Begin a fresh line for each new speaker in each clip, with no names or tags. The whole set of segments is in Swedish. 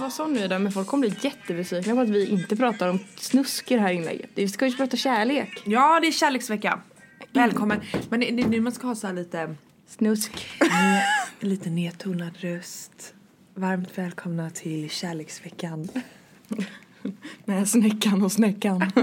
vara sån nu idag men folk kommer bli jättebesvikna på att vi inte pratar om snusk i det här inlägget. Vi ska ju prata kärlek.
Ja, det är kärleksvecka. Välkommen. Men det är nu man ska ha så här lite,
Snusk.
lite nedtonad röst. Varmt välkomna till kärleksveckan.
Nej, snäckan och snäckan.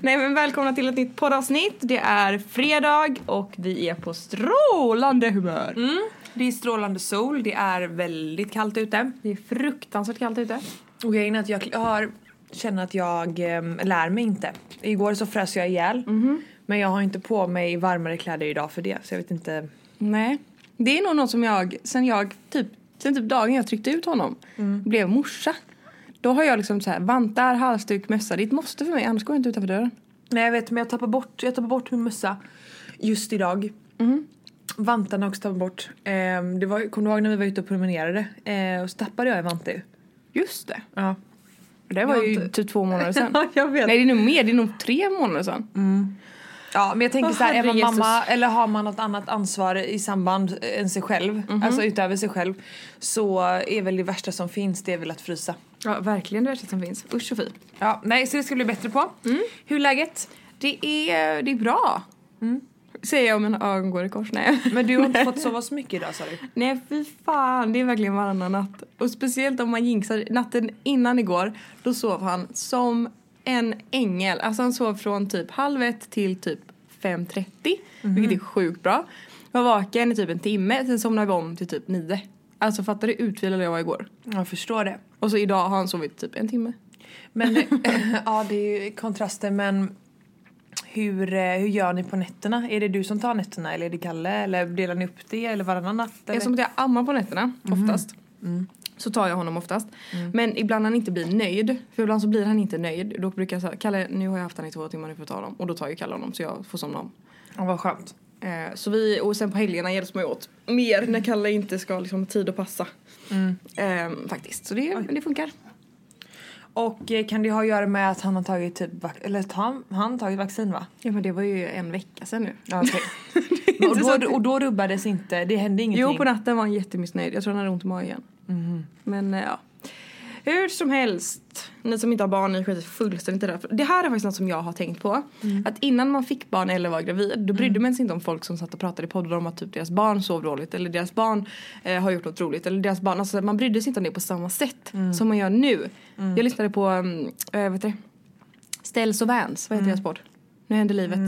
Nej men välkomna till ett nytt poddavsnitt. Det är fredag och vi är på strålande humör.
Mm. Det är strålande sol, det är väldigt kallt ute.
Det är fruktansvärt kallt ute.
Och grejen är att jag har, känner att jag em, lär mig inte. Igår så frös jag ihjäl. Men jag har inte på mig varmare kläder idag för det. Så jag vet inte.
Nej. Det är nog något som jag, sen jag typ, sen typ dagen jag tryckte ut honom, blev morsa. Då har jag liksom så här, vantar, halsduk, mössa. Det är ett måste för mig, annars går jag inte utanför dörren.
Nej jag vet men jag tappar bort, jag tappar bort min mössa just idag. Vantarna har också tappat bort. Ehm, det var, kommer du ihåg när vi var ute och promenerade? Eh, och så tappade jag en vante ju.
Just det.
Ja.
Det var
Jag har
ju
inte-
typ två månader sedan.
Ja, jag vet.
Nej det är nog mer, det är nog tre månader sedan.
Ja men jag tänker
Åh,
så här, är man
herre Jesus.
mamma eller har man något annat ansvar i samband eh, än sig själv, alltså utöver sig själv, så är väl det värsta som finns det är väl att frysa.
Ja verkligen det värsta som finns. Usch och fy.
Ja, nej så det ska bli bättre på. Hur är läget?
Det är, det är bra. Säger jag om mina ögon går i kors. Nej.
Men du har inte fått sova så mycket idag sa du?
Nej fy fan, det är verkligen varannan natt. Och speciellt om man jinxar. Natten innan igår, då sov han som en ängel. Alltså han sov från typ halv ett till typ 5.30, vilket är sjukt bra. Var vaken i typ en timme, sen somnade vi om till typ nio. Alltså fattar du hur utvilad jag var igår?
Jag förstår det.
Och så idag har han sovit typ en timme.
Men ja det är ju kontraster men hur, eh, hur gör ni på nätterna? Är det du som tar nätterna eller är det Kalle eller delar ni upp det eller varannan natt? Eller?
Eftersom att jag ammar på nätterna oftast. Så tar jag honom oftast. Men ibland han inte blir nöjd. För ibland så blir han inte nöjd. Då brukar jag säga Kalle nu har jag haft han i två timmar nu får jag ta honom. Och då tar ju Kalle honom så jag får somna om.
Ja, vad skönt.
Eh, så vi, och sen på helgerna hjälps man ju åt mer när Kalle inte ska liksom, ha tid att passa. Eh, faktiskt. Så det, det funkar.
Och eh, kan det ha att göra med att han har tagit typ, vac- eller att han, han tagit vaccin va?
Ja men det var ju en vecka sedan nu.
Ja, okej. och, då, och då rubbades inte, det hände ingenting?
Jo på natten var han jättemissnöjd. Jag tror han hade ont i magen. Men eh, ja. Hur som helst, ni som inte har barn, ni skiter fullständigt i det här. För Det här är faktiskt något som jag har tänkt på. Att innan man fick barn eller var gravid, då brydde man sig inte om folk som satt och pratade i poddar om att typ deras barn sov dåligt eller deras barn eh, har gjort något roligt eller deras barn, alltså man brydde sig inte om det på samma sätt som man gör nu. Jag lyssnade på, um, äh, vet det? Ställs och Vans, vad heter deras podd? Nu händer livet.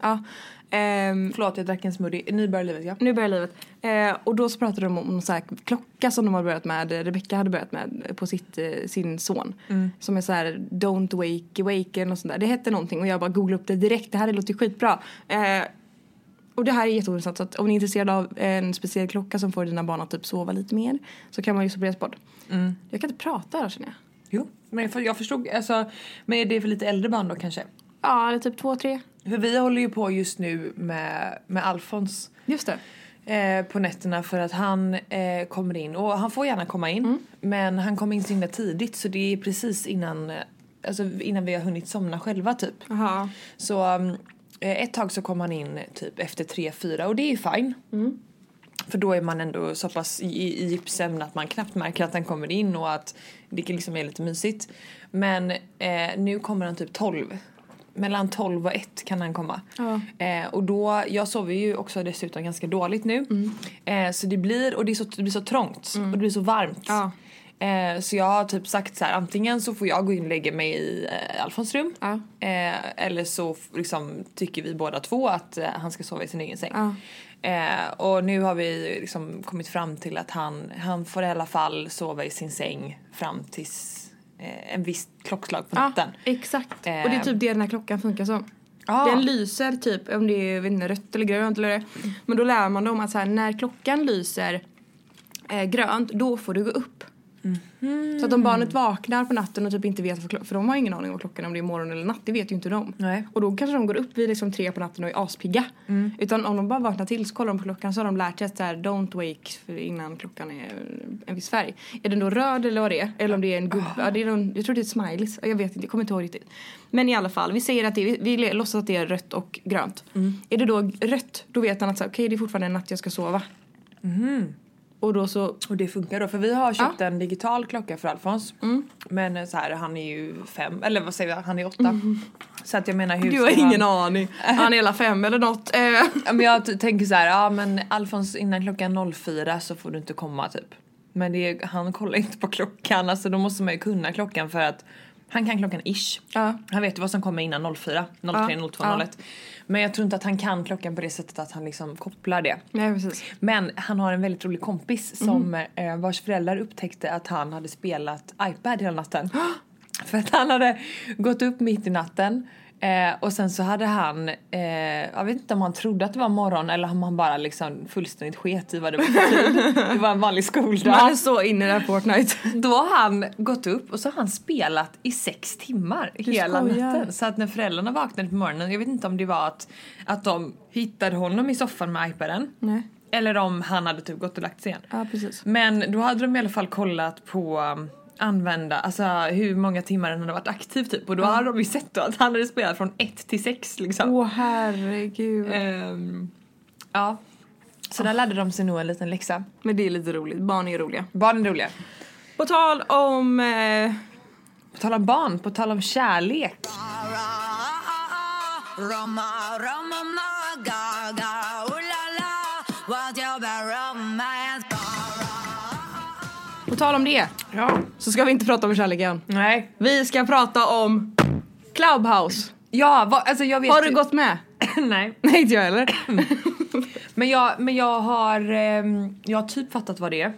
Ja. Ehm,
Förlåt jag drack en smoothie, nybörjarlivet ja.
nu börjar livet. Eh, och då så pratade de om någon så här klocka som de har börjat med. eh, Rebecca hade börjat med på sitt, eh, sin son.
Mm.
Som är så här Don't wake awaken och sånt där. Det hette någonting och jag bara googlade upp det direkt. Det här låter ju skitbra. Eh, och det här är jätteintressant. Så att om ni är intresserade av en speciell klocka som får dina barn att typ sova lite mer. Så kan man lyssna på deras podd.
Mm.
Jag kan inte prata här känner jag.
Jo, men för, jag förstod, alltså, men är det för lite äldre barn då kanske?
Ja, eller typ två, tre.
För vi håller ju på just nu med, med Alfons.
Just det.
eh, på nätterna för att han eh, kommer in. Och han får gärna komma in men han kommer in så himla tidigt så det är precis innan, eh, alltså, innan vi har hunnit somna själva typ.
Aha.
Så um, eh, ett tag så kom han in typ efter tre fyra och det är ju fine. För då är man ändå så pass i, i djupsömn att man knappt märker att han kommer in och att det liksom är lite mysigt. Men eh, nu kommer han typ 12. Mellan 12 och 1 kan han komma.
Ja.
Eh, och då, jag sover ju också dessutom ganska dåligt nu.
Mm.
Eh, så det blir, och det, är så, det blir så trångt och det blir så varmt.
Ja.
Eh, så jag har typ sagt så här, antingen så får jag gå in och lägga mig i eh, Alfons rum.
Ja.
Eh, eller så f- liksom, tycker vi båda två att eh, han ska sova i sin egen säng.
Ja.
Eh, och nu har vi liksom kommit fram till att han, han får i alla fall sova i sin säng fram tills eh, en viss klockslag på
Ja,
natten.
exakt.
Eh.
Och det är typ det den här klockan funkar som.
Ja.
Den lyser typ, om det är jag vet inte, rött eller grönt eller det. Men då lär man dem att så här, när klockan lyser eh, grönt, då får du gå upp. Så att om barnet vaknar på natten och typ inte vet vad klockan, för de har ingen aning om klockan om det är morgon eller natt, det vet ju inte de.
Nej.
Och då kanske de går upp vid liksom tre på natten och är aspigga. Utan om de bara vaknar till så kollar de på klockan så har de lärt sig att så här, don't wake för- innan klockan är en viss färg. Är den då röd eller vad det är? Eller om det är en gubbe? Ja, det är någon, jag tror det är ett smileys. Jag vet inte, jag kommer inte ihåg riktigt. Men i alla fall, vi säger att det, vi, vi låtsas att det är rött och Mm. grönt. Är det då rött, då vet han att så här, okej det är fortfarande en natt jag ska sova. Och då så,
Och det funkar då för vi har köpt en digital klocka för Alfons.
Mm.
Men eh, så här, han är ju fem, eller vad säger jag, han är åtta. Så att jag menar hur
Mm. du har
ska man-
ingen aning. Han är hela fem eller något. Eh,
Ja, men jag t- tänker så här, ja men Alfons innan klockan 04 så får du inte komma typ. Men det, han kollar inte på klockan, alltså då måste man ju kunna klockan för att han kan klockan ish.
Ja.
Han vet ju vad som kommer innan 04, 03,
Ja,
02,
ja.
01. Men jag tror inte att han kan klockan på det sättet att han liksom kopplar det.
Nej precis.
Men han har en väldigt rolig kompis som eh, vars föräldrar upptäckte att han hade spelat iPad hela natten. För att han hade gått upp mitt i natten eh, och sen så hade han, eh, jag vet inte om han trodde att det var morgon eller om han bara liksom fullständigt sket i vad det var för tid. Det var en vanlig
Han är
skoldag.
så inne i det här Fortnite.
Då har han gått upp och så har han spelat i sex timmar hela
skojar.
natten. Så att när föräldrarna vaknade på morgonen, jag vet inte om det var att, att de hittade honom i soffan med iPaden.
Nej.
Eller om han hade typ gått och lagt sig igen.
Ja precis.
Men då hade de i alla fall kollat på um, använda, alltså hur många timmar den hade varit aktiv typ. Och då hade de ju sett då att han hade spelat från 1 till 6 liksom.
Åh herregud.
Ehm, ja. Så där lärde de sig nog en liten läxa.
Men det är lite roligt, barn är roliga.
Barnen är roliga.
På tal om... Eh,
På tal om barn, på tal om kärlek.
Roma, Roma, Gaga, ooh la la, what your bad romance?
på tal om det
Ja.
så ska vi inte prata om kärleken.
Nej.
Vi ska prata om Clubhouse.
Ja, va, alltså jag vet Mm.
Har du
ju-
gått med?
Nej.
Nej inte jag heller.
Men jag, men jag har, ehm, jag har typ fattat vad det är.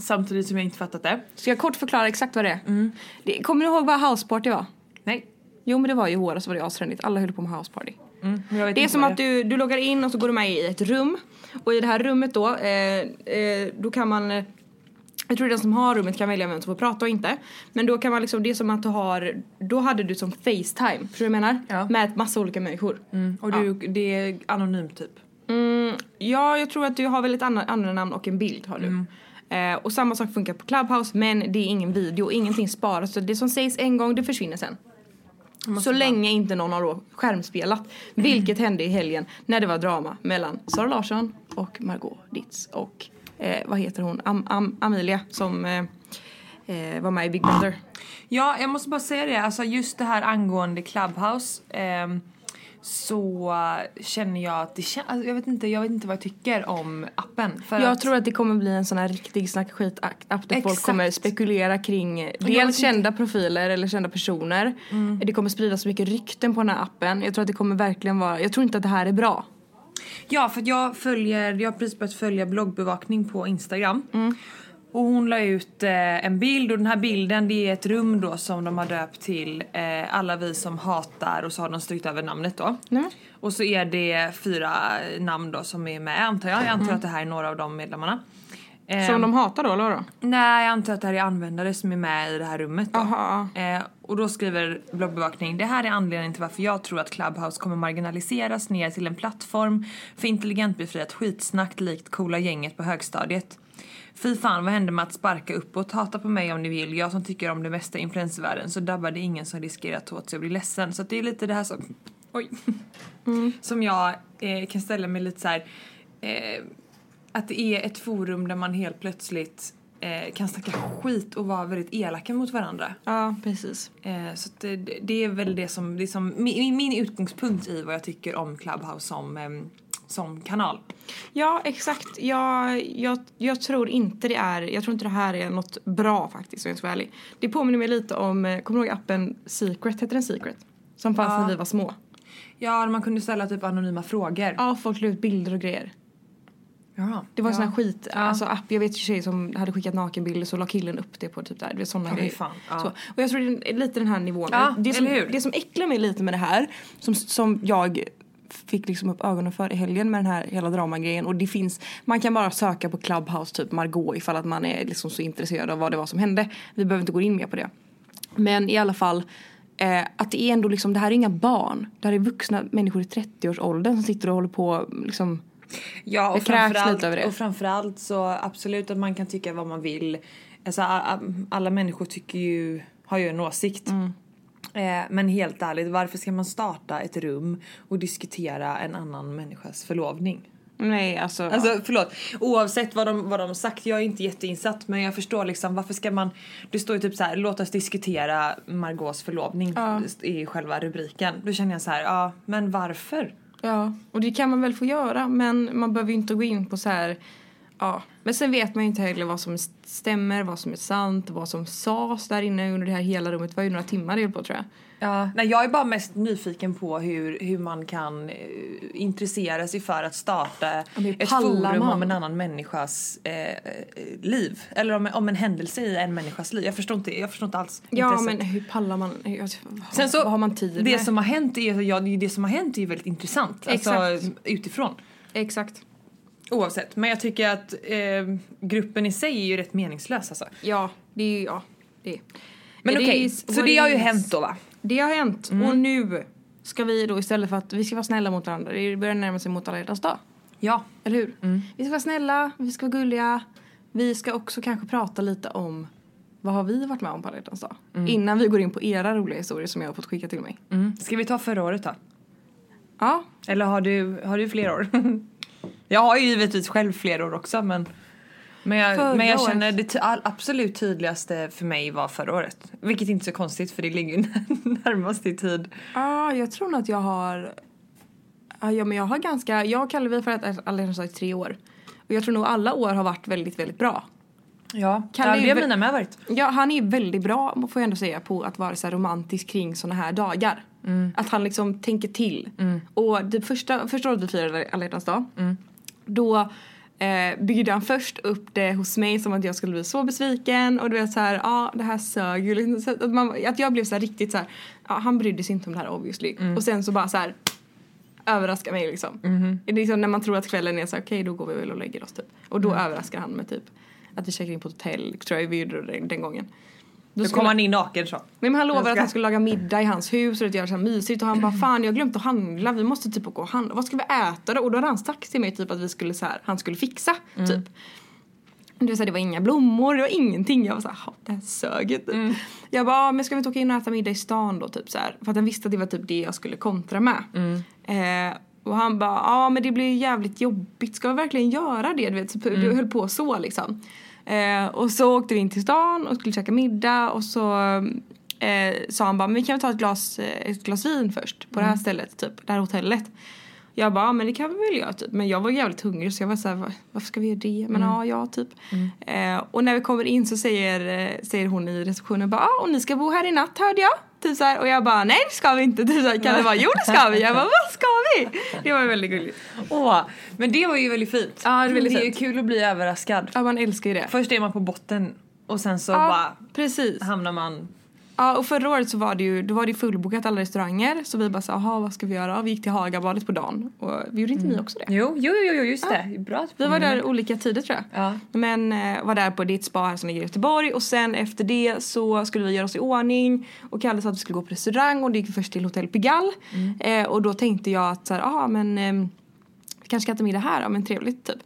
Samtidigt som jag inte fattat det.
Ska jag kort förklara exakt vad det är?
Mm.
Det, kommer du ihåg vad houseparty var?
Nej.
Jo men det var ju i våras var det astrendigt, alla höll på med houseparty.
Men Mm, jag vet
Det är
inte
som
vad
att du, du loggar in och så går du med i ett rum. Och i det här rummet då, eh, eh, då kan man... eh, Jag tror den som har rummet kan välja vem som får prata och inte. Men då kan man liksom, det är som att du har... Då hade du som Facetime, förstår du vad jag menar?
Ja.
Med ett massa olika människor.
Mm, Och du, det är anonymt typ.
Mm, ja, jag tror att du har väl ett annan- användarnamn och en bild har du. Eh, och samma sak funkar på Clubhouse men det är ingen video, ingenting sparas. Så det som sägs en gång det försvinner sen. Så länge inte någon har då skärmspelat. Vilket hände i helgen när det var drama mellan Sara Larsson och Margot Ditz och eh, vad heter hon? Am- Am- Amelia som eh, eh, var med i Big Brother.
Ja, jag måste bara säga det. Alltså just det här angående Clubhouse. ehm, så känner jag att det kän- alltså, jag, vet inte, jag vet inte vad jag tycker om appen. För
Jag
att,
tror att det kommer bli en sån här riktig snack skit app där folk
Exakt.
kommer spekulera kring eh,
vet
dels
inte. Mm.
kända profiler eller kända personer. Det kommer spridas så mycket rykten på den här appen. Jag tror att det kommer verkligen vara, jag tror inte att det här är bra.
Ja, för att jag följer, jag har precis börjat följa bloggbevakning på Instagram. Och hon la ut eh, en bild och den här bilden det är ett rum då som de har döpt till eh, alla vi som hatar och så har de strykt över namnet då. Och så är det fyra namn då som är med antar jag. Jag antar att det här är några av de medlemmarna.
Som
Ehm,
de hatar då eller vadå?
Nej, jag antar att det här är användare som är med i det här rummet då.
Aha.
Eh, och då skriver bloggbevakning, det här är anledningen till varför jag tror att Clubhouse kommer marginaliseras ner till en plattform för intelligent befriat skitsnack likt coola gänget på högstadiet. Fy fan, vad hände med att sparka uppåt? Hata på mig om ni vill, jag som tycker om det mesta i influensvärlden så drabbar det ingen som riskerar att ta åt sig och bli ledsen. Så att det är lite det här som... Oj. Som jag eh, kan ställa mig lite så här... Eh, att det är ett forum där man helt plötsligt eh, kan snacka skit och vara väldigt elaka mot varandra.
Ja precis.
Eh, så att det, det är väl det som, det är som min, min utgångspunkt i vad jag tycker om Clubhouse som, ehm, som kanal.
Ja exakt, jag, jag, jag tror inte det är, jag tror inte det här är något bra faktiskt om jag ska vara ärlig. Det påminner mig lite om, eh, kommer du ihåg appen Secret, heter den Secret? Som fanns när vi var små.
Ja, där man kunde ställa typ anonyma frågor.
Ja folk la ut bilder och grejer.
Ja.
Det var en
ja.
sån här skit, alltså app. Jag vet ju tjejer som hade skickat nakenbilder så la killen upp det på typ där. Det är såna
Ja,
grejer.
fy fan, ja.
Så. Och jag tror det är lite den här nivån.
Ja,
det, som,
eller hur?
det som äcklar mig lite med det här, som, som jag fick liksom upp ögonen för i helgen med den här hela dramagrejen och det finns, man kan bara söka på Clubhouse typ Margot ifall att man är liksom så intresserad av vad det var som hände. Vi behöver inte gå in mer på det. Men i alla fall eh, att det är ändå liksom, det här är inga barn. Det här är vuxna människor i 30-årsåldern som sitter och håller på liksom
Ja,
Jag
och
kräks
framförallt,
lite över det.
och framförallt så absolut att man kan tycka vad man vill. Alltså, a- a- alla människor tycker ju, har ju en åsikt.
Mm.
Eh, Men helt ärligt, varför ska man starta ett rum och diskutera en annan människas förlovning?
Nej alltså. ja.
Alltså förlåt, oavsett vad de, vad de sagt, jag är inte jätteinsatt men jag förstår liksom varför ska man... Det står ju typ så här, låt oss diskutera Margots förlovning
Ja.
i själva rubriken. Då känner jag så här, ja men varför?
ja. Och det kan man väl få göra men man behöver ju inte gå in på så här. Ja. Men sen vet man ju inte heller vad som stämmer, vad som är sant, vad som sades där inne under det här hela rummet. Det var ju några timmar det höll på tror jag.
Ja. Nej, jag är bara mest nyfiken på hur, hur man kan eh, intressera sig för att starta
men
ett
pallar
forum
man?
om en annan människas eh, eh, liv. Eller om, om en händelse i en människas liv. Jag förstår inte, jag förstår inte alls
Ja
intresset.
men hur pallar man? Alltså,
Sen så,
vad har man tid
det
med?
som har hänt är, ja, det är ju- det som har hänt är ju väldigt intressant. Alltså
Exakt.
utifrån.
Exakt.
Oavsett. Men jag tycker att eh, gruppen i sig är ju rätt meningslös alltså.
Ja, det är ju, ja. Det är.
Men
It
okej,
is
så
what
det
it
har ju
is.
hänt då va?
Det har hänt och nu ska vi då istället för att vi ska vara snälla mot varandra, det börjar närma sig mot alla hjärtans dag.
Ja.
Eller hur? Vi ska vara snälla, vi ska vara gulliga. Vi ska också kanske prata lite om vad har vi varit med om på alla hjärtans dag? Innan vi går in på era roliga historier som jag har fått skicka till mig.
Mm. Ska vi ta förra året då?
Ja,
Eller har du, har du fler år? jag har ju givetvis själv fler år också men men
Förra
jag, men jag
året.
känner det ty- all, absolut tydligaste för mig var förra året. Vilket inte är så konstigt för det ligger ju närmast i tid.
Ja, jag tror nog att jag har... Ja, ja, men jag har ganska... Jag och Kalle, vi har förrätt alla hjärtans dag i tre år. Och jag tror nog alla år har varit väldigt, väldigt bra.
Ja,
Kan
ja
det
det
ju
har
vä-
mina med varit.
Ja, han är väldigt bra, får jag ändå säga, på att vara så här romantisk kring såna här dagar. Att han liksom tänker till. Och det första, första året vi firade alla hjärtans dag, då eh, byggde han först upp det hos mig som att jag skulle bli så besviken och du vet så här, ja det här sög ju. Liksom, så att, man, att jag blev så här riktigt så här, ja han brydde sig inte om det här obviously. Och sen så bara så här överraska mig liksom.
Mhm.
Det är liksom när man tror att kvällen är så här, okej då går vi väl och lägger oss typ. Och
Mm.
då överraskar han mig typ. Att vi checkar in på ett hotell tror jag vi gjorde den, den gången. Då
Då
skulle-
kom han in naken så.
Nej, men han lovade
Jag
att
ska-
han skulle laga middag i hans hus och det göra så här mysigt och han bara fan jag har glömt att handla vi måste typ gå och handla. Vad ska vi äta då? Och då hade han sagt till mig typ att vi skulle så här, han skulle fixa
Mm.
typ. Det var, så här, det var inga blommor, det var ingenting. Jag var såhär, det här sög ju", typ. Jag bara, "Ah, men ska vi inte åka in och äta middag i stan då? Typ, så här. För att han visste att det var typ det jag skulle kontra med. Eh, och han bara, ja men det blir ju jävligt jobbigt. Ska vi verkligen göra det? Du vet, så, du höll på så liksom. Eh, och så åkte vi in till stan och skulle käka middag och så eh, sa han bara, men vi kan väl ta ett glas, eh, ett glas vin först på det här stället, typ, det här hotellet. Jag bara, "Ja, men det kan vi väl göra typ. Men jag var jävligt hungrig så jag var så här, "Va- varför ska vi göra det? Men ja, ja typ. Eh, och när vi kommer in så säger, eh, säger hon i receptionen bara, ah, och ni ska bo här i natt hörde jag. Typ så här, och jag bara, nej det ska vi inte. Typ så här, Kalle bara, jo det ska vi. Jag bara, vad ska vi? Det var ju väldigt gulligt.
Åh, men det var ju väldigt fint.
Ja, det är väldigt
det är ju
fint.
kul att bli överraskad.
Ja, man älskar ju det.
Först är man på botten och sen så
Ja,
bara
precis.
hamnar man...
Ja, och förra året så var det ju, då var det ju fullbokat alla restauranger så vi bara sa, jaha vad ska vi göra? Och vi gick till Hagabadet på dagen och vi gjorde inte ni också det?
Jo, jo, jo, jo just det. Bra.
Vi var där olika tider tror jag.
Ja.
Men eh, var där på ditt spa här som ligger i Göteborg och sen efter det så skulle vi göra oss i ordning och Kalle sa att vi skulle gå på restaurang och det gick vi först till Hotel Pigalle.
Mm.
Eh, och då tänkte jag att så här, aha, men ehm, vi kanske ska äta middag här, ja men trevligt typ.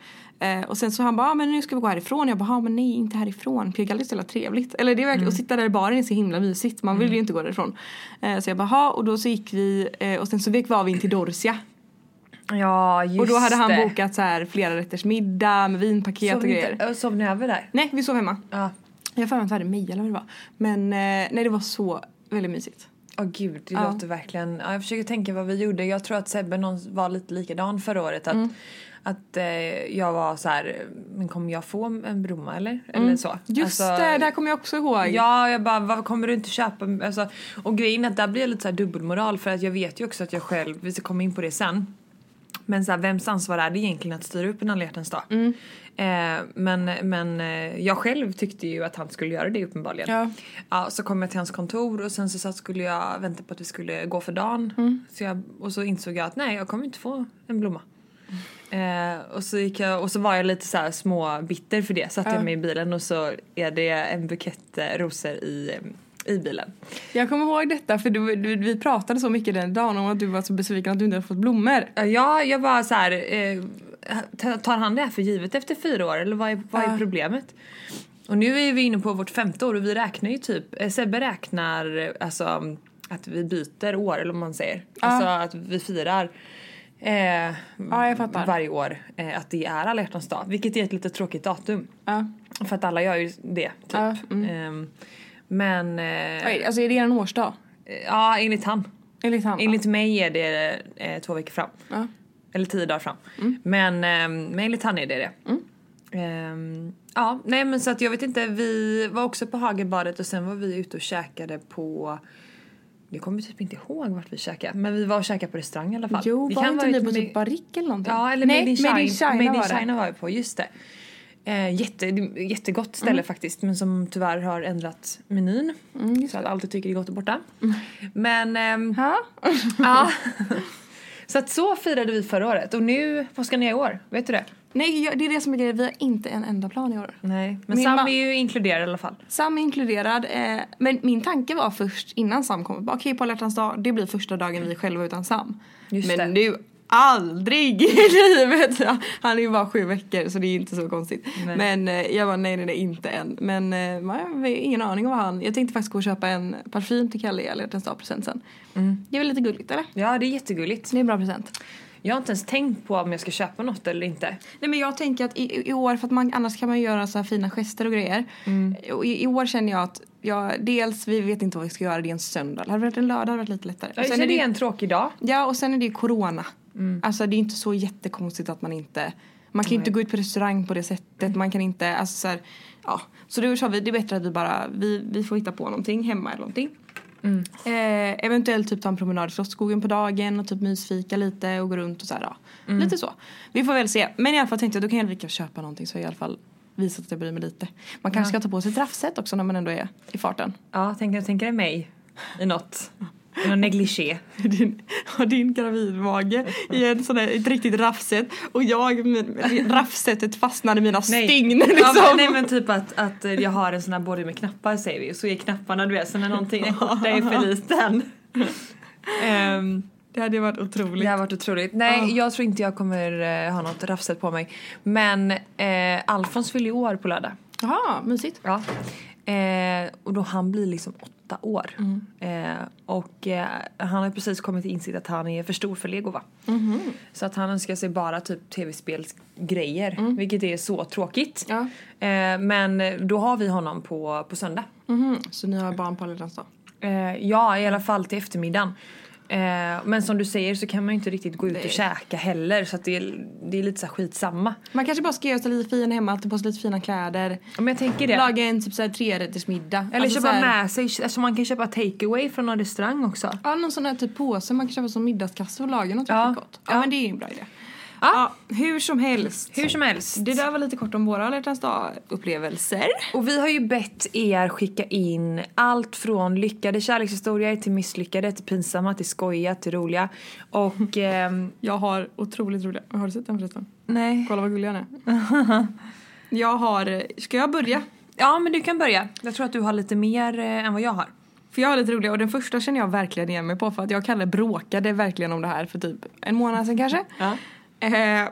Eh, och sen så han bara, ah, men nu ska vi gå härifrån. Jag bara, ah, men nej inte härifrån. Pigalle är så jävla trevligt. Eller det är
Mm.
verkligen, att sitta där i baren är så himla mysigt. Man vill ju inte gå därifrån. Eh, så jag bara, "Ha." och då så gick vi eh, och sen så var vi in till Dorsia.
Ja, just
Och då hade han
det.
bokat så här flera rätters middag med vinpaket
Sov
och
ni
grejer.
inte- ö, Sov ni över där?
Nej, vi sov hemma.
Ja.
Jag har för mig att vi hade mig eller vad det var. Men eh, nej, det var så väldigt mysigt.
Åh gud, det
Ja.
låter verkligen... Ja, jag försöker tänka vad vi gjorde. Jag tror att Sebbe någon, var lite likadan förra året. Att,
Mm.
att eh, jag var så här, men kommer jag få en bromma eller? Eller så.
Mm. Just
Alltså,
det, det här kommer jag också ihåg.
Ja, jag bara varför kommer du inte köpa? Alltså, och grejen är att där blir jag lite så här dubbelmoral för att jag vet ju också att jag själv, vi ska komma in på det sen. Men så här, vems ansvar är det egentligen att styra upp en alla hjärtans dag? Eh, men men eh, jag själv tyckte ju att han skulle göra det uppenbarligen.
Ja.
så kom jag till hans kontor och sen så satt, skulle jag vänta på att vi skulle gå för dagen. Så jag, och så insåg jag att nej jag kommer inte få en blomma. Eh, och, så gick jag, och så var jag lite så här små bitter för det. Satte jag mig i bilen och så är det en bukett eh, rosor i, eh, i bilen.
Jag kommer ihåg detta för du, du, vi pratade så mycket den dagen om att du var så besviken att du inte hade fått blommor.
Eh, Ja, jag bara så här, eh, ta- tar han det här för givet efter fyra år eller vad är, vad är
Ja.
problemet? Och nu är vi inne på vårt femte år och vi räknar ju typ, eh, Sebbe räknar eh, alltså att vi byter år eller vad man säger. Alltså att vi firar eh,
Ja, jag fattar.
varje år eh, att det är alla hjärtans dag. Vilket är ett lite tråkigt datum.
Ja.
För att alla gör ju det. Typ.
Ja, Mm.
Ehm, men eh,
Oj, Alltså är det en årsdag?
ja, enligt han.
Enligt han?
Enligt mig är det eh, två veckor fram.
Ja. Mm.
Eller tio dagar fram. Men, ehm, men enligt han är det det. Ehm, ja, nej men så att jag vet inte. Vi var också på Hagelbadet och sen var vi ute och käkade på jag kommer typ inte ihåg vart vi käkade men vi var och käkade på restaurang i alla fall.
Jo,
Det
var
kan
inte
vara
ni
ett
på
me-
typ Barrick eller någonting?
Ja, eller
Nej,
Made in China,
Made in China,
Made in
var det.
China var vi på, just det. Eh, jätte, det är ett jättegott ställe faktiskt men som tyvärr har ändrat menyn. så att allt jag tycker är gott är borta. Men ehm,
Ja.
ja. Så att så firade vi förra året och nu, vad ska ni göra i år? Vet du det?
Nej, jag- det är det som är grejen. Vi har inte en enda plan i år.
Nej. Men
Min
Sam
ma-
är ju inkluderad i alla fall.
Sam är inkluderad. Eh, men min tanke var först innan Sam kom. bara, Okej, på alla hjärtans dag, det blir första dagen vi är själva utan Sam.
Just
men
det.
nu, aldrig i livet! Han är ju bara sju veckor så det är inte så konstigt.
Nej.
Men eh, jag bara nej, nej, nej, inte än. Men eh, man har ju ingen aning om vad han... Jag tänkte faktiskt gå och köpa en parfym till Kalle i alla hjärtans dag-present sen.
Mm.
Det är väl lite gulligt, eller?
Ja, det är jättegulligt.
Det är en bra present.
Jag har inte ens tänkt på om jag ska köpa något eller inte.
Nej men jag tänker att i, i år, för att man, annars kan man ju göra så här fina gester och grejer.
Mm.
Och i, I år känner jag att jag, dels vi vet inte vad vi ska göra, det är en söndag. Hade det varit en lördag hade det varit lite lättare.
Jag
Och
känner
är
det är
det,
en tråkig dag.
ja och sen är det ju corona. Alltså det är inte så jättekonstigt att man inte, man kan ju inte gå ut på restaurang på det sättet. Man kan inte, alltså så här, ja. Så då sa vi det är bättre att vi bara, vi, vi får hitta på någonting hemma eller någonting. Eh, eventuellt typ ta en promenad i Slottsskogen på dagen och typ mysfika lite och gå runt och så här, ja. Lite så. Vi får väl se. Men i alla fall tänkte jag då kan jag lika köpa någonting så jag i alla fall visat att jag bryr mig lite. Man kanske ska ta på sig ett raffset också när man ändå är i farten.
Ja, tänker tänker dig mig i något. I någon negligé.
Din, har din gravidmage i en sån där, ett riktigt raffset och jag, min, raffsetet fastnade i mina stygn liksom.
Ja, men- nej men typ att, att eh, jag har en sån här body med knappar säger vi och så är knapparna du vet så när någonting är korta är för liten. Ehm,
Det hade ju varit otroligt.
det har varit otroligt. Nej jag tror inte jag kommer eh, ha något raffset på mig. Men eh, Alfons fyller ju år på lördag.
Jaha, mysigt.
Ja. Eh, och då han blir liksom åtta år. Eh, och eh, han har precis kommit till insikt att han är för stor för lego va? Så att han önskar sig bara typ tv-spelsgrejer. Vilket är så tråkigt.
Ja.
Eh, men då har vi honom på, på söndag.
Mhm, Så ni har barn på alla hjärtans dag?
Eh, ja, i alla fall till eftermiddagen. Eh, men som du säger så kan man ju inte riktigt gå ut
Nej.
och käka heller. Så att det, är, det är lite så här skitsamma.
Man kanske bara ska göra sig lite fin hemma, ta på sig lite fina kläder.
Men jag tänker det.
Laga en typ såhär trerättersmiddag.
Eller
Alltså
köpa
såhär-
med sig, alltså man kan köpa takeaway från någon restaurang också.
Ja, någon sån här typ påse man kan köpa som middagskasse och laga något
Ja.
riktigt gott. Ja,
Ja.
men det är en bra idé.
Ja.
Ja, hur som helst.
Hur som helst.
Det där var lite kort om våra alla hjärtans dag-upplevelser.
Och vi har ju bett er skicka in allt från lyckade kärlekshistorier till misslyckade, till pinsamma, till skojiga, till roliga. Och ehm,
Jag har otroligt roliga... Har du sett den förresten?
nej.
Kolla vad gullig han är. jag har... Ska jag börja?
Ja men du kan börja. Jag tror att du har lite mer eh, än vad jag har.
För jag har lite roliga och den första känner jag verkligen igen mig på för att jag och Kalle bråkade verkligen om det här för typ en månad sedan kanske.
Ja.
Eh,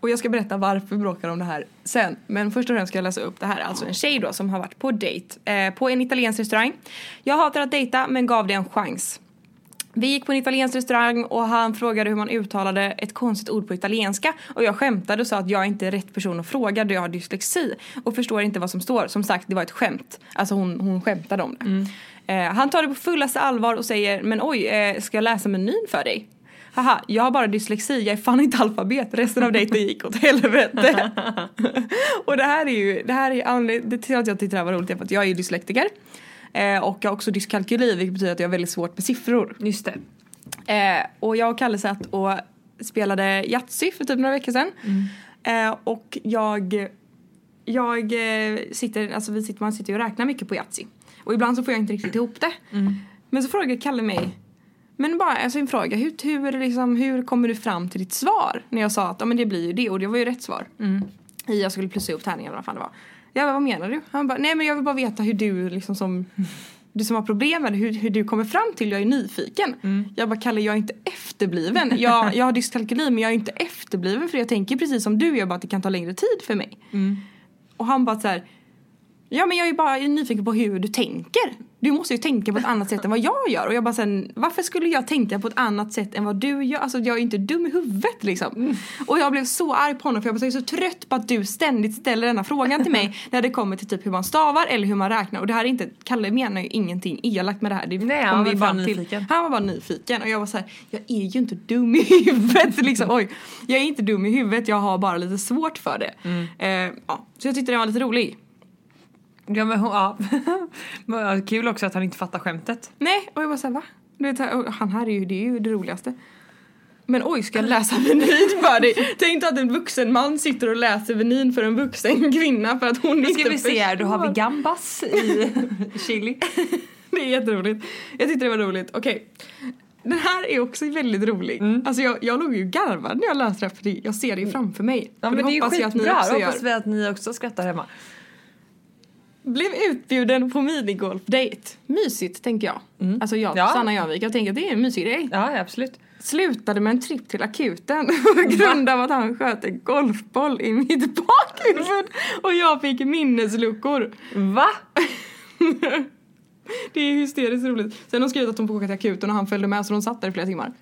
och jag ska berätta varför vi bråkade om det här sen. Men först och främst ska jag läsa upp det här. Alltså en tjej då som har varit på dejt eh, på en italiensk restaurang. Jag hatar att dejta men gav det en chans. Vi gick på en italiensk restaurang och han frågade hur man uttalade ett konstigt ord på italienska och jag skämtade och sa att jag inte är rätt person att fråga då jag har dyslexi och förstår inte vad som står. Som sagt, det var ett skämt. Alltså hon, hon skämtade om det. Eh, han tar det på fullaste allvar och säger men oj, eh, ska jag läsa menyn för dig? Haha, jag har bara dyslexi, jag är fan inte alfabet. Resten av dejten gick åt helvete. och det här är ju, det här är anledningen till att jag tyckte det här var roligt är för att jag är ju dyslektiker. Eh, och jag har också dyskalkyli vilket betyder att jag har väldigt svårt med siffror.
Just det.
Eh, och jag och Kalle satt och spelade Yatzy för typ några veckor sedan.
Mm.
Eh, och jag, jag eh, sitter, alltså vi sitter, man sitter ju och räknar mycket på Yatzy. Och ibland så får jag inte riktigt ihop det. Men så frågar Kalle mig, men bara alltså en fråga, hur, hur, liksom, hur kommer du fram till ditt svar? När jag sa att ja, men det blir ju det och det var ju rätt svar.
Mm.
I jag skulle plussa ihop tärningen eller vad fan det var. Jag bara, vad menar du? Han bara, nej men jag vill bara veta hur du liksom som du som har problem med det, hur, hur du kommer fram till, jag är nyfiken. Jag bara, Kalle jag är inte efterbliven. Jag, jag har dyskalkyli men jag är inte efterbliven för jag tänker precis som du, jag bara att det kan ta längre tid för
Mm.
mig. Och han bara så här, ja men jag är bara nyfiken på hur du tänker. du måste ju tänka på ett annat sätt än vad jag gör. Och jag bara sen, varför skulle jag tänka på ett annat sätt än vad du gör? Alltså jag är ju inte dum i huvudet liksom.
Mm.
Och jag blev så arg på honom för jag bara, så- jag är så trött på att du ständigt ställer denna frågan till mig när det kommer till typ hur man stavar eller hur man räknar. Och det här är inte, Kalle menar ju ingenting elakt med det här. Det
Nej, han
kom
var
vi
väl
fram
bara
till.
nyfiken.
Han var bara nyfiken och jag var så här, jag är ju inte dum i huvudet liksom. Oj, jag är inte dum i huvudet, jag har bara lite svårt för det.
Mm.
Eh, ja. Så jag tyckte den var lite rolig.
Ja, men, hon- ja. Men, ja, Kul också att han inte fattar skämtet.
Nej, och jag bara såhär va? Du vet, här, och han här är ju, det är ju det roligaste. Men oj, ska jag läsa menyn för dig? Tänk dig att en vuxen man sitter och läser menyn för en vuxen kvinna för att hon
Nu ska
inte
vi se här, då har vi
förstår.
gambas i chili.
Det är jätteroligt. Jag tyckte det var roligt. Okej. Den här är också väldigt rolig.
Mm.
Alltså jag, jag låg ju garvad när jag läste det här för det- jag ser det ju framför mig.
Ja,
Och
men det är ju
hoppas jag att ni
skitbra,
också
Då
gör.
hoppas vi att ni också skrattar hemma.
Blev utbjuden på minigolfdejt. Mysigt tänker jag. Alltså jag,
Mm. Ja.
Sanna Jönvik, jag tänker att det är en mysig grej.
Ja, absolut.
slutade med en tripp till akuten på grund av att han sköt en golfboll i mitt bakhuvud och jag fick minnesluckor.
Va?
Det är hysteriskt roligt. Sen har hon skrivit att hon får åka till akuten och han följde med så de satt där i flera timmar.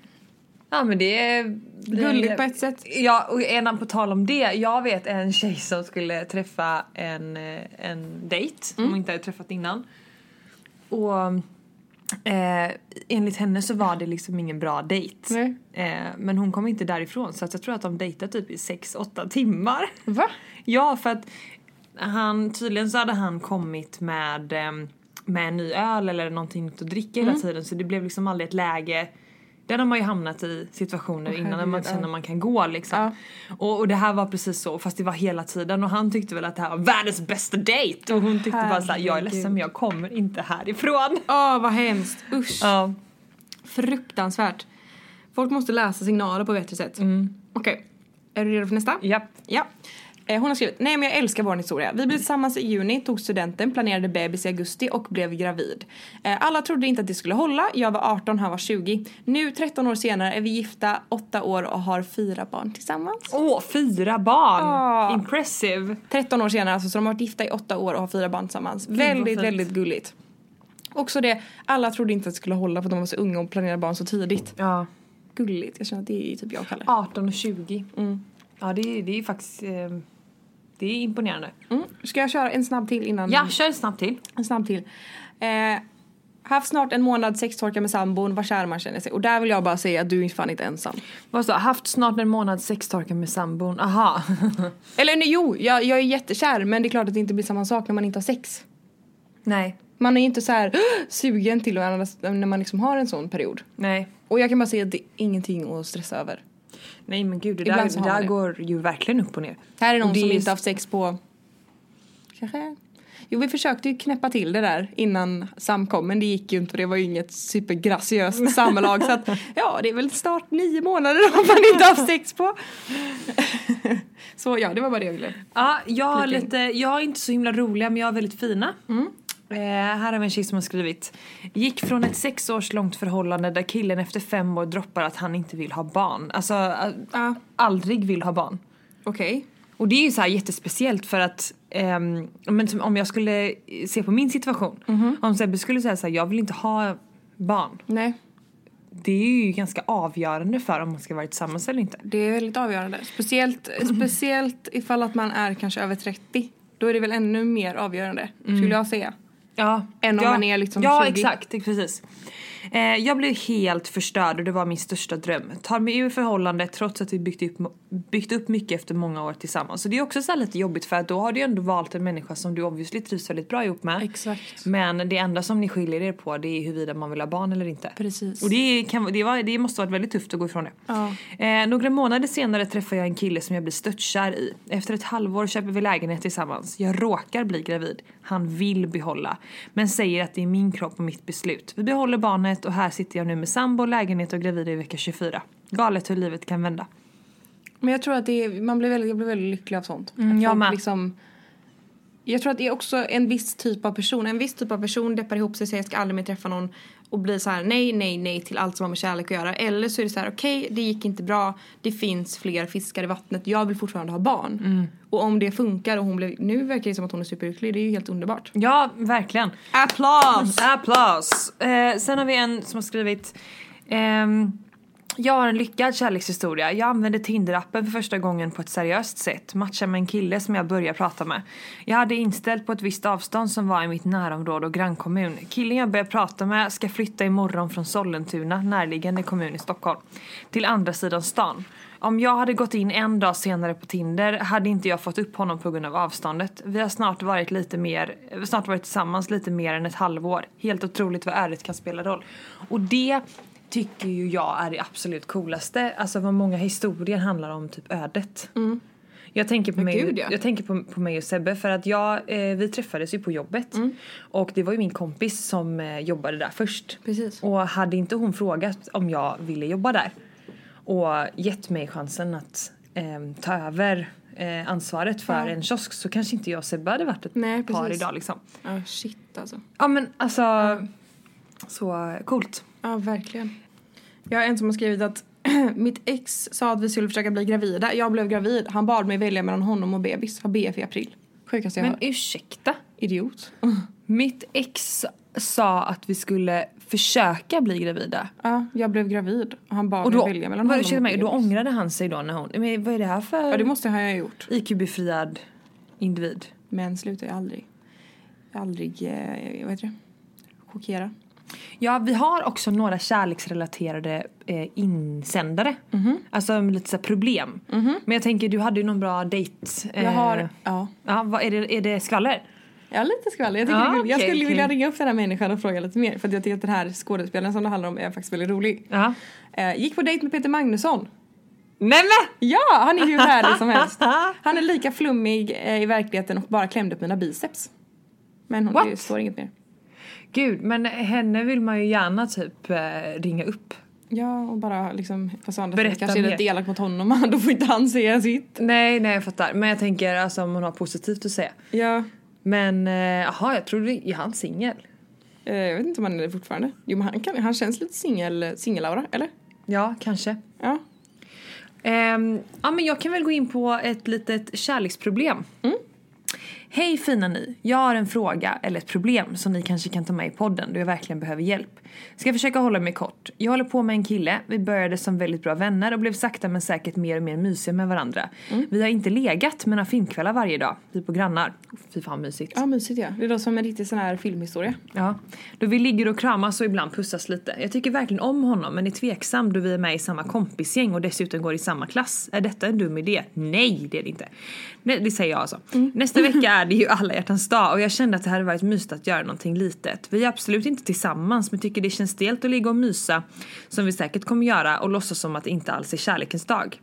Ja men det är...
Gulligt på ett sätt.
Ja och innan på tal om det, jag vet en tjej som skulle träffa en, eh, en dejt som hon inte hade träffat innan. Och eh, enligt henne så var det liksom ingen bra dejt.
Nej.
Eh, men hon kom inte därifrån så att jag tror att de dejtade typ i 6-8 timmar.
Va?
Ja, för att han, tydligen så hade han kommit med, ehm, med en ny öl eller någonting nytt att dricka hela
Mm.
tiden så det blev liksom aldrig ett läge där de har ju hamnat i situationer innan när man
herregud, ja.
känner man kan gå liksom.
Ja.
Och, och det här var precis så fast det var hela tiden och han tyckte väl att det här var världens bästa dejt och hon tyckte bara såhär jag är ledsen
Herregud.
men jag kommer inte härifrån.
Åh vad hemskt, usch.
Ja.
Fruktansvärt. Folk måste läsa signaler på ett bättre sätt.
Mm.
Okej, är du redo för nästa?
Japp.
Ja. Eh, Hon har skrivit, nej men jag älskar vår historia. Vi blev tillsammans i juni, tog studenten, planerade bebis i augusti och blev gravid. Eh, Alla trodde inte att det skulle hålla, jag var 18, han var 20. Nu 13 år senare är vi gifta, 8 år och har fyra barn tillsammans.
Åh, fyra barn!
Ja.
Impressive!
13 år senare alltså, så de har varit gifta i 8 år och har fyra barn tillsammans.
vad
väldigt,
fint.
väldigt gulligt. Också det, alla trodde inte att det skulle hålla för att de var så unga och planerade barn så tidigt.
Ja.
Gulligt, jag känner att det är typ jag och Kalle.
18 och 20. Ja, det, är- det är faktiskt... eh, Det är imponerande.
Mm. Ska jag köra en snabb till innan?
Ja, kör snabbt till.
En snabb till. Eh, haft snart en månad sextorka med sambon, vad kär man känner sig. Och där vill jag bara säga att du är fan inte ensam.
Vad sa Haft snart en månad sextorka med sambon. Aha.
Eller nej, jo, jag, jag är jättekär men det är klart att det inte blir samma sak när man inte har sex.
nej.
Man är ju inte så här sugen till varandra när man liksom har en sån period.
Nej.
Och jag kan bara säga att det är ingenting att stressa över.
Nej men gud, det där,
Ibland så
det
har
där
man det.
går ju verkligen upp och ner.
Här är någon
Och det
som
är-
inte haft sex på... Kanske... Jo, vi försökte ju knäppa till det där innan Sam kom, men det gick ju inte för det var ju inget supergraciöst samlag. så att, ja, det är väl snart nio månader om man inte haft sex på. så ja, det var bara det jag ville.
Ja, jag, har
Flika in.
lite, jag är inte så himla roliga men jag är väldigt fina. Eh, här har vi en tjej som har skrivit. Gick från ett sex års långt förhållande där killen efter fem år droppar att han inte vill ha barn. Alltså, eh,
Ja.
aldrig vill ha barn.
Okej.
Och det är ju så här jättespeciellt för att ehm, men som om jag skulle se på min situation. Om Sebbe skulle säga så här, jag vill inte ha barn.
Nej,
Det är ju ganska avgörande för om man ska vara tillsammans eller inte.
det är väldigt avgörande. Speciellt, speciellt ifall att man är kanske över 30. Då är det väl ännu mer avgörande, skulle jag säga.
Ja.
Än om
ja.
man är liksom
Ja
20.
exakt, det- precis. Eh, jag blev helt förstörd och det var min största dröm. Tar mig ur förhållandet trots att vi byggt upp, byggt upp mycket efter många år tillsammans. Så det är också så här lite jobbigt för att då har du ju ändå valt en människa som du obviously trivs väldigt bra ihop med.
Exakt.
Men det enda som ni skiljer er på det är huruvida man vill ha barn eller inte.
Precis.
Och det, kan, det, var, det måste varit väldigt tufft att gå ifrån det.
Ja.
Eh, några månader senare träffar jag en kille som jag blir störtkär i. Efter ett halvår köper vi lägenhet tillsammans. Jag råkar bli gravid. Han vill behålla. Men säger att det är min kropp och mitt beslut. Vi behåller barnet och här sitter jag nu med sambo, lägenhet och gravid i vecka 24. Galet hur livet kan vända.
Men jag tror att det är, man blir väldigt, jag blir väldigt lycklig av sånt.
Mm,
att
jag
folk
med.
liksom Jag tror att det är också en viss typ av person. En viss typ av person deppar ihop sig och säger jag ska aldrig mer träffa någon och blir så här nej, nej, nej till allt som har med kärlek att göra. Eller så är det så här okej, det gick inte bra. Det finns fler fiskar i vattnet. Jag vill fortfarande ha barn. Och om det funkar och hon blev, nu verkar det som att hon är superlycklig. Det är ju helt underbart.
Ja, verkligen. Mm.
Applås!
Applaus! Eh, sen har vi en som har skrivit ehm, Jag har en lyckad kärlekshistoria. Jag använde Tinder-appen för första gången på ett seriöst sätt. Matchade med en kille som jag började prata med. Jag hade inställt på ett visst avstånd som var i mitt närområde och grannkommun. Killen jag började prata med ska flytta imorgon från Sollentuna, närliggande kommun i Stockholm, till andra sidan stan. Om jag hade gått in en dag senare på Tinder hade inte jag fått upp honom på grund av avståndet. Vi har snart varit, lite mer, snart varit tillsammans lite mer än ett halvår. Helt otroligt vad ärligt kan spela roll. Och det tycker ju jag är det absolut coolaste. Alltså vad många historier handlar om typ ödet. Jag tänker, på mig,
Mm. gud, ja.
jag tänker på, på mig och Sebbe för att jag, eh, vi träffades ju på jobbet och det var ju min kompis som eh, jobbade där först.
Precis.
Och hade inte hon frågat om jag ville jobba där och gett mig chansen att eh, ta över eh, ansvaret
Ja.
för en kiosk så kanske inte jag och Sebbe hade varit ett
Nej,
par
precis.
idag liksom.
Ja, shit alltså.
Ja men alltså, så coolt.
Ja, verkligen. Jag har en som har skrivit att mitt ex sa att vi skulle försöka bli gravida. Jag blev gravid. Han bad mig välja mellan honom och bebis. Har BF i april. Sjukaste jag
Men
hört.
ursäkta,
Idiot.
mitt ex sa att vi skulle försöka bli gravida.
Ja, jag blev gravid. Och han bad
Och då,
mig välja mellan
vad,
honom
ursäkta
och
mig,
bebis.
då ångrade han sig då när hon, men vad är det här för
Ja, det måste ha jag gjort.
IQ-befriad individ?
Men slutar jag aldrig. Aldrig, eh, vad heter det? Chockera.
Ja, vi har också några kärleksrelaterade eh, insändare. Alltså med lite så här problem. Men jag tänker, du hade ju någon bra dejt. eh,
Jag har, ja.
Ja, vad, är, det, är det skvaller?
Ja, lite skvaller. Jag, tycker
Ja,
det är kul. jag
Ah, okej,
skulle
okej.
vilja ringa upp den här människan och fråga lite mer. För att jag tycker att den här skådespelaren som det handlar om är faktiskt väldigt rolig.
Ja.
Eh, gick på dejt med Peter Magnusson.
Nej men!
Ja, han är hur härlig som helst. Han är lika flummig eh, i verkligheten och bara klämde upp mina biceps. Men hon, det
What?
står inget mer.
Gud, men henne vill man ju gärna typ eh, ringa upp.
Ja, och bara liksom... Fast å andra
Berätta
sidan kanske är det
mer.
lite elakt mot honom. Då får inte han säga sitt.
Nej, nej jag fattar. Men jag tänker alltså om hon har positivt att säga.
Ja.
Men eh, jaha, jag trodde, är han singel?
Eh, jag vet inte om han är det fortfarande. Jo, men han, kan, han känns lite singel, singelaura, eller?
Ja, kanske.
Ja.
Ehm, ja, men jag kan väl gå in på ett litet kärleksproblem. Hej fina ni! Jag har en fråga eller ett problem som ni kanske kan ta med i podden då jag verkligen behöver hjälp. Ska försöka hålla mig kort. Jag håller på med en kille, vi började som väldigt bra vänner och blev sakta men säkert mer och mer mysiga med varandra. Vi har inte legat men har filmkvällar varje dag. Vi är på grannar. Fy fan mysigt.
Ja, mysigt ja. Det är då som en riktig sån här filmhistoria.
Ja, då vi ligger och kramas och ibland pussas lite. Jag tycker verkligen om honom men är tveksam då vi är med i samma kompisgäng och dessutom går i samma klass. Är detta en dum idé? Nej, det är det inte. Nej, det säger jag alltså. Nästa vecka är det ju alla hjärtans dag och jag kände att det hade varit mysigt att göra någonting litet. Vi är absolut inte tillsammans men tycker det känns stelt att ligga och mysa som vi säkert kommer göra och låtsas som att det inte alls är kärlekens dag.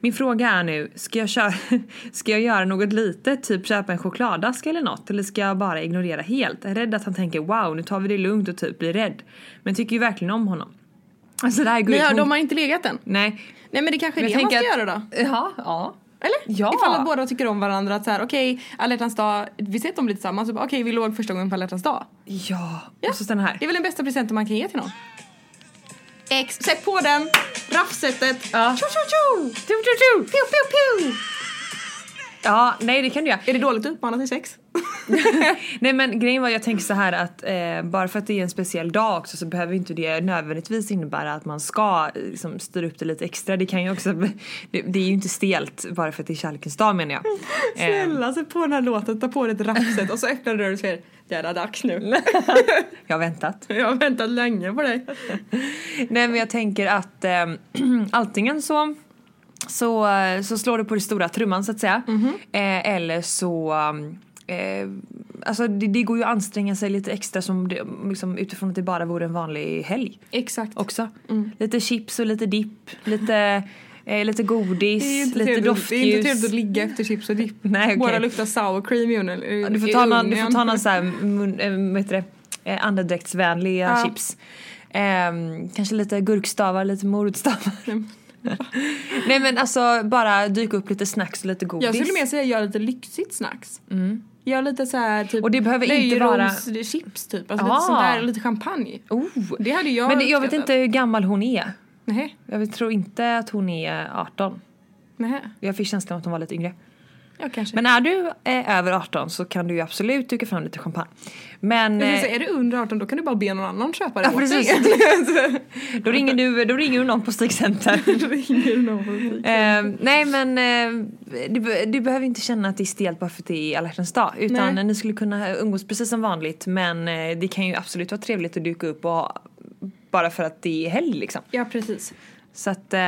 Min fråga är nu, ska jag, köra, ska jag göra något litet, typ köpa en chokladask eller något? Eller ska jag bara ignorera helt? Jag är rädd att han tänker wow, nu tar vi det lugnt och typ blir rädd. Men tycker ju verkligen om honom. Alltså det här går
Nej,
ut
ja,
mot-
de har inte legat än.
Nej.
Nej, men det kanske är
Men
det
jag
man ska
tänker
göra då.
Ja, ja.
Eller?
Ja.
Ifall att båda tycker om varandra. Att så här, okej, alla hjärtans dag, vi ser att de blir tillsammans. så bara, Okej, vi låg första gången på alla hjärtans dag.
Ja.
Ja.
Och så den här.
Det är väl den bästa presenten man kan ge till någon. Ex, sätt på den! Raffsättet!
Ja.
Tjo, tjo, tjo! Tjo, tjo, tjo! Pew, pew, pew!
Ja, nej det kan du göra.
Är det dåligt att uppmana till sex?
Nej men grejen var jag tänker så här att eh, bara för att det är en speciell dag också så behöver inte det nödvändigtvis innebära att man ska eh, liksom, styra upp det lite extra. Det kan ju också, det, det är ju inte stelt bara för att det är kärlekens dag menar jag. Eh,
Snälla, sätt på den här låten, ta på dig ett raffset och så öppnar du dörren och säger Det är dags nu.
jag har väntat.
Jag har väntat länge på dig.
Nej men jag tänker att eh, antingen så så, eh, så slår du på den stora trumman så att säga. Eh, eller så eh, Alltså det, det går ju att anstränga sig lite extra som det, liksom, utifrån att det bara vore en vanlig helg.
Exakt.
också. Lite chips och lite dipp, lite, eh, lite godis,
det är ju inte
lite
trevligt-
doftljus.
det är inte trevligt att ligga efter chips och dipp.
Nej, okej.
Båda luktar sour cream i ugnen.
du, får ta någon, du får ta någon så här mun, eh, vad heter det, eh, andedräktsvänliga
Ja.
chips. Ehm, kanske lite gurkstavar, lite morotstavar.
Mm.
Nej men alltså bara dyka upp lite snacks och lite godis. Mm.
Jag skulle mer säga gör lite lyxigt snacks. Gör lite så här typ
Och det behöver inte vara-
löjroms- chips typ. Alltså
Ah.
lite sånt där, lite champagne.
Oh.
Det hade jag
Men det, jag vet
uppskattat.
inte hur gammal hon är.
Nej,
Jag tror inte att hon är 18.
nej.
Jag fick känslan av att hon var lite yngre.
Ja kanske.
Men är du eh, över 18 så kan du ju absolut duka fram lite champagne. Men
Jag vill
eh,
säga, är du under 18 då kan du bara be någon annan köpa det
Ja,
åt dig.
då, ringer du, då ringer du någon på Stig Center.
Då ringer du någon på butik.
Eh, nej men eh, du, be- du behöver inte känna att det är stelt bara för att det är alla hjärtans dag. Utan
Nej.
ni skulle kunna umgås precis som vanligt men eh, det kan ju absolut vara trevligt att duka upp och ha, bara för att det är helg liksom.
Ja precis.
Så att eh,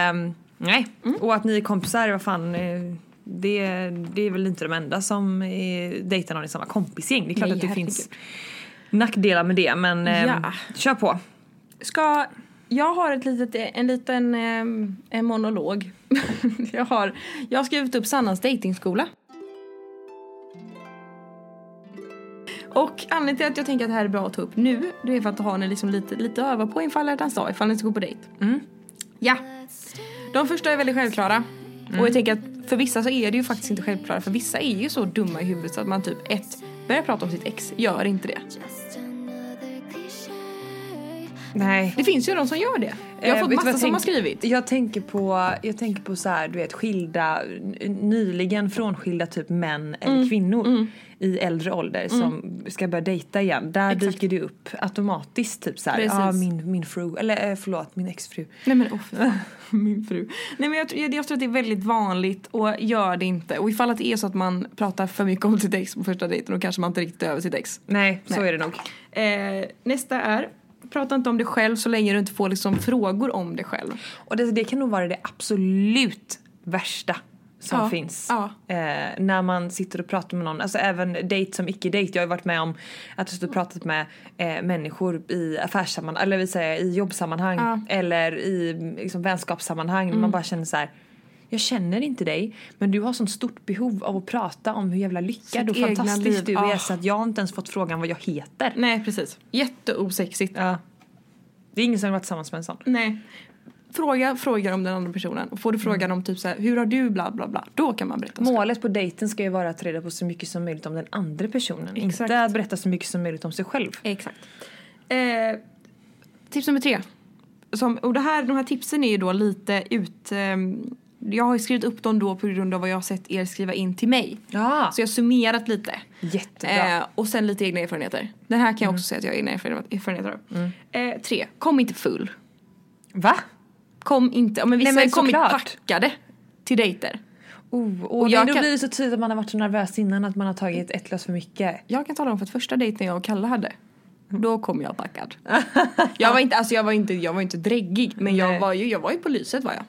nej. Och att ni är kompisar, vad fan. Eh, det, det är väl inte de enda som eh, dejtar någon i samma kompisgäng. Det är klart
Nej,
att det
herregud.
finns nackdelar med det men eh,
Ja.
kör på.
Ska, jag har ett litet, en liten ehm, en monolog. jag, har, jag har skrivit upp Sannas dejtingskola. Och anledningen till att jag tänker att det här är bra att ta upp nu, det är för att ha ni liksom lite, lite att öva på inför alla hjärtans dag, ifall ni ska gå på dejt.
Mm.
Ja. De första är väldigt självklara. Och jag tänker att för vissa så är det ju faktiskt inte självklara, för vissa är ju så dumma i huvudet så att man typ ett, börjar prata om sitt ex, gör inte det.
Just another cliche.
Nej.
Det finns ju de som gör det. Jag har
Eh,
fått
vet du
massa
vad jag
som har
tänk-
skrivit.
Jag tänker på, jag tänker på så här, du vet skilda, n- nyligen frånskilda typ män eller
Mm.
kvinnor i äldre ålder som ska börja dejta igen. Där dyker det upp automatiskt typ så här,
Precis.
ah, min, min fru, eller eh, förlåt min exfru.
Nej men åh fy fan. min fru. Nej men jag, tror- jag, jag tror att det är väldigt vanligt och gör det inte. Och ifall att det är så att man pratar för mycket om sitt ex på första dejten då kanske man inte riktigt är över sitt ex.
Nej, så
Nej.
är det nog.
Eh, nästa är, prata inte om dig själv så länge du inte får liksom frågor om dig själv.
Och det, det kan nog vara det absolut värsta som
Ja,
finns.
ja.
Eh, när man sitter och pratar med någon, alltså även dejt som icke-dejt. Jag har ju varit med om att jag stått och pratat med eh, människor i affärssammanhang, eller vill säga i jobbsammanhang
Ja. Mm.
eller i mm, liksom, vänskapssammanhang. Man bara känner så här. Jag känner inte dig men du har sånt stort behov av att prata om hur jävla lyckad
Sitt
och
egna
fantastisk
liv,
du är
ah.
så att jag har inte ens fått frågan vad jag heter.
Nej precis. Jätteosexigt.
Ja. Det är ingen som har varit tillsammans med en sån.
Nej. Fråga frågor om den andra personen. Och får du frågan om typ så här, hur har du bla bla bla. Då kan man berätta om sig.
Målet på dejten ska ju vara att ta reda på så mycket som möjligt om den andra personen.
Exakt.
Inte att berätta så mycket som möjligt om sig själv.
Exakt. Eh, tips nummer tre. Som, och det här, de här tipsen är ju då lite ut... ehm, jag har ju skrivit upp dem då på grund av vad jag har sett er skriva in till mig.
Ja.
Så jag har summerat lite.
Jättebra. Mm.
Eh, och sen lite egna erfarenheter. Den här kan jag också säga att jag har egna erfarenhet- erfarenheter av. Eh, tre, kom inte full.
Va?
Kom inte... ja, Men vissa
Nej, men
kom inte
såklart.
packade till dejter.
Oh, och
Och
men
jag
då
kan-
blir det så tydligt att man har varit så nervös innan att man har tagit ett glas för mycket.
Jag kan tala om för att första dejten jag och Kalle hade då kom jag packad. Jag var inte, alltså jag var inte, jag var inte dräggig men
Nej. Mm.
jag var, ju, jag var ju på lyset var jag.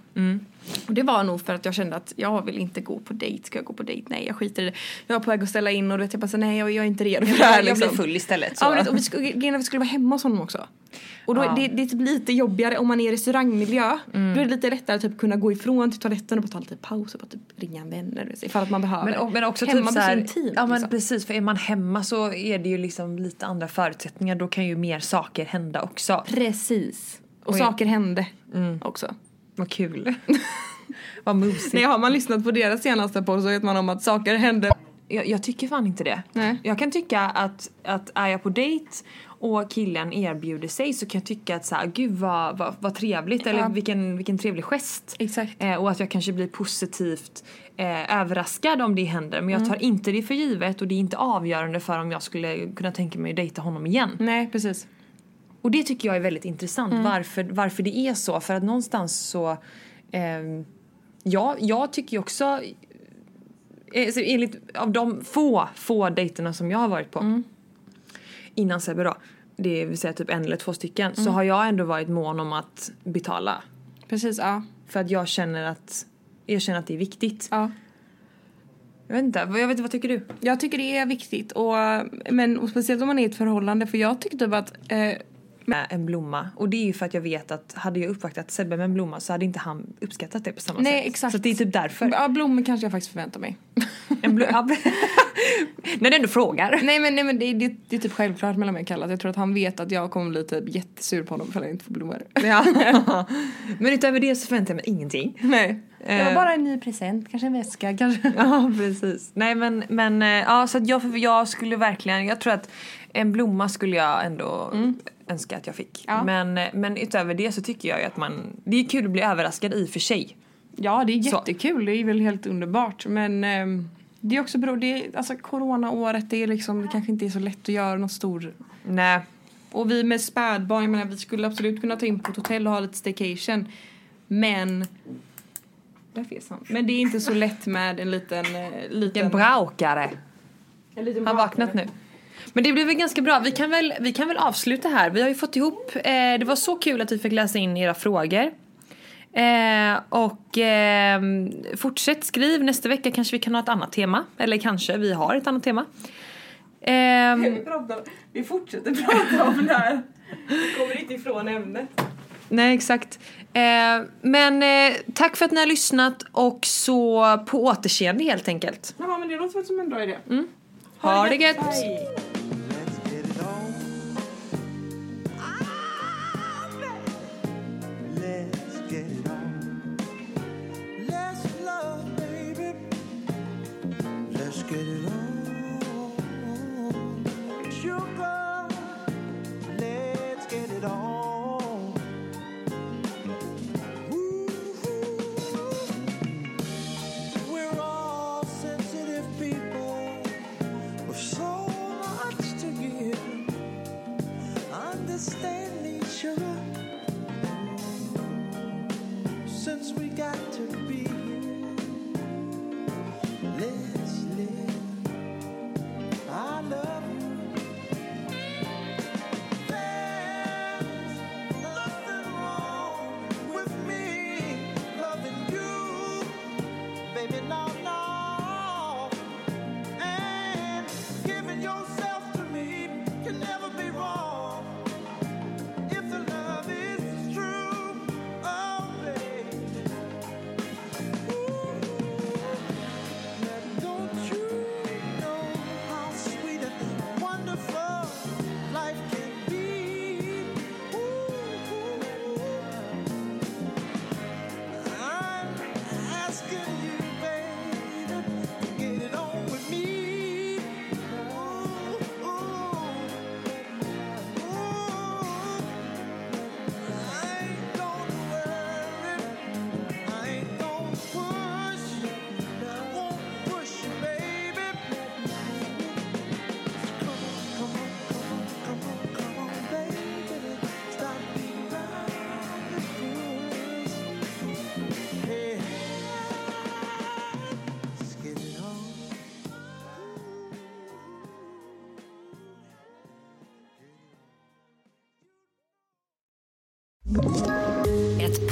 Och det var nog för att jag kände att jag vill inte gå på dejt. Ska jag gå på dejt? Nej jag skiter i det. Jag var på väg att ställa in och du vet jag bara så, nej jag, jag är inte redo för det här liksom.
istället.
Ja, men, vet du, och vi skulle, grejen är att vi skulle vara hemma hos honom också. Och då,
Ja. Mm.
det, det är typ lite jobbigare om man är i restaurangmiljö. Då är det lite lättare att typ kunna gå ifrån till toaletten och bara ta lite paus och bara typ ringa en vän eller så, ifall att man behöver.
Men, och, men också
hemma
typ
blir
så här,
intimt.
Ja men
liksom.
precis för är man hemma så är det ju liksom lite andra förutsättningar. Då kan ju mer saker hända också.
Precis. Och
Oj.
saker hände också.
Vad kul. Vad mysigt.
Nej, har man lyssnat på deras senaste podd så vet man om att saker hände.
jag, jag tycker fan inte det.
Nej.
Jag kan tycka att, att är jag på dejt och killen erbjuder sig så kan jag tycka att så här, gud vad, vad, vad trevligt eller
Ja.
vilken, vilken trevlig gest.
Exakt.
Eh, och att jag kanske blir positivt eh, överraskad om det händer men jag tar inte det för givet och det är inte avgörande för om jag skulle kunna tänka mig att dejta honom igen.
Nej, precis.
Och det tycker jag är väldigt intressant varför, varför det är så. För att någonstans så... ehm, ja, jag tycker ju också... Eh, så enligt, av de få, få dejterna som jag har varit på innan Sebbe då, det vill säga typ en eller två stycken, så har jag ändå varit mån om att betala.
Precis, ja.
För att jag känner att, jag känner att det är viktigt.
ja.
Jag vet inte, vad- jag vet, inte, vad tycker du?
Jag tycker det är viktigt. Och, men, och speciellt om man är i ett förhållande. För jag tyckte typ att eh,
med en blomma. Och det är ju för att jag vet att hade jag uppvaktat Sebbe med en blomma så hade inte han uppskattat det på samma
Nej,
sätt.
exakt.
Så att det är typ därför.
Ja, blommor kanske jag faktiskt förväntar mig.
En blo- ja, När du ändå frågar.
nej men, nej, men det, det, det är typ självklart mellan mig och Kalle att jag tror att han vet att jag kommer bli typ jättesur på honom för att jag inte får blommor.
Ja. Men utöver det så förväntar jag mig ingenting.
nej. Det var
Eh.
bara en ny present, kanske en väska, kanske.
Ja precis. Nej men, men eh, ja så att jag, jag skulle verkligen, jag tror att en blomma skulle jag ändå önska att jag fick.
Mm. Ja.
Men, eh, men utöver det så tycker jag ju att man, det är kul att bli överraskad i och för sig.
Ja, det är
Så.
jättekul. Det är väl helt underbart. Men ehm, det är också beror, det är, alltså coronaåret, det är liksom, det kanske inte är så lätt att göra någon stor...
Nej.
Och vi med spädbarn, jag menar vi skulle absolut kunna ta in på ett hotell och ha lite staycation. Men... Där finns han. Men det är inte så lätt med en liten... eh, liten
En braukare.
en liten
Han har vaknat
bakare.
nu. Men det blev väl ganska bra. Vi kan väl, vi kan väl avsluta här. Vi har ju fått ihop, eh, det var så kul att vi fick läsa in era frågor. Eh, och eh, fortsätt skriv, nästa vecka kanske vi kan ha ett annat tema. Eller kanske, vi har ett annat tema. Ehm,
Vi pratar- Vi fortsätter prata om det här. Vi kommer inte ifrån ämnet.
nej exakt. Eh, men eh, tack för att ni har lyssnat och så på återseende helt enkelt.
Ja, men det låter väl som en bra idé.
Ha det gött!
Hej.
Let's get it on. Let's get it on. Let's love, baby. Let's get it on. Sugar, let's get it on. Woo-hoo. We're all sensitive people with so much to give. Understand each other since we got to be here. Let's live. I love you. There's nothing wrong with me loving you, baby. No, no and giving yourself to me can never be wrong. If the love is true, oh baby. Ooh, now don't you know how sweet and wonderful life can be? Ooh, I'm asking you, baby, to get it on with me. Ooh, ooh, ooh. I ain't gonna worry. I ain't gonna push. I won't push you, baby. Come on, come on, come on, come on, come on, baby. Stop being around the Hey, let's get it on.
Ett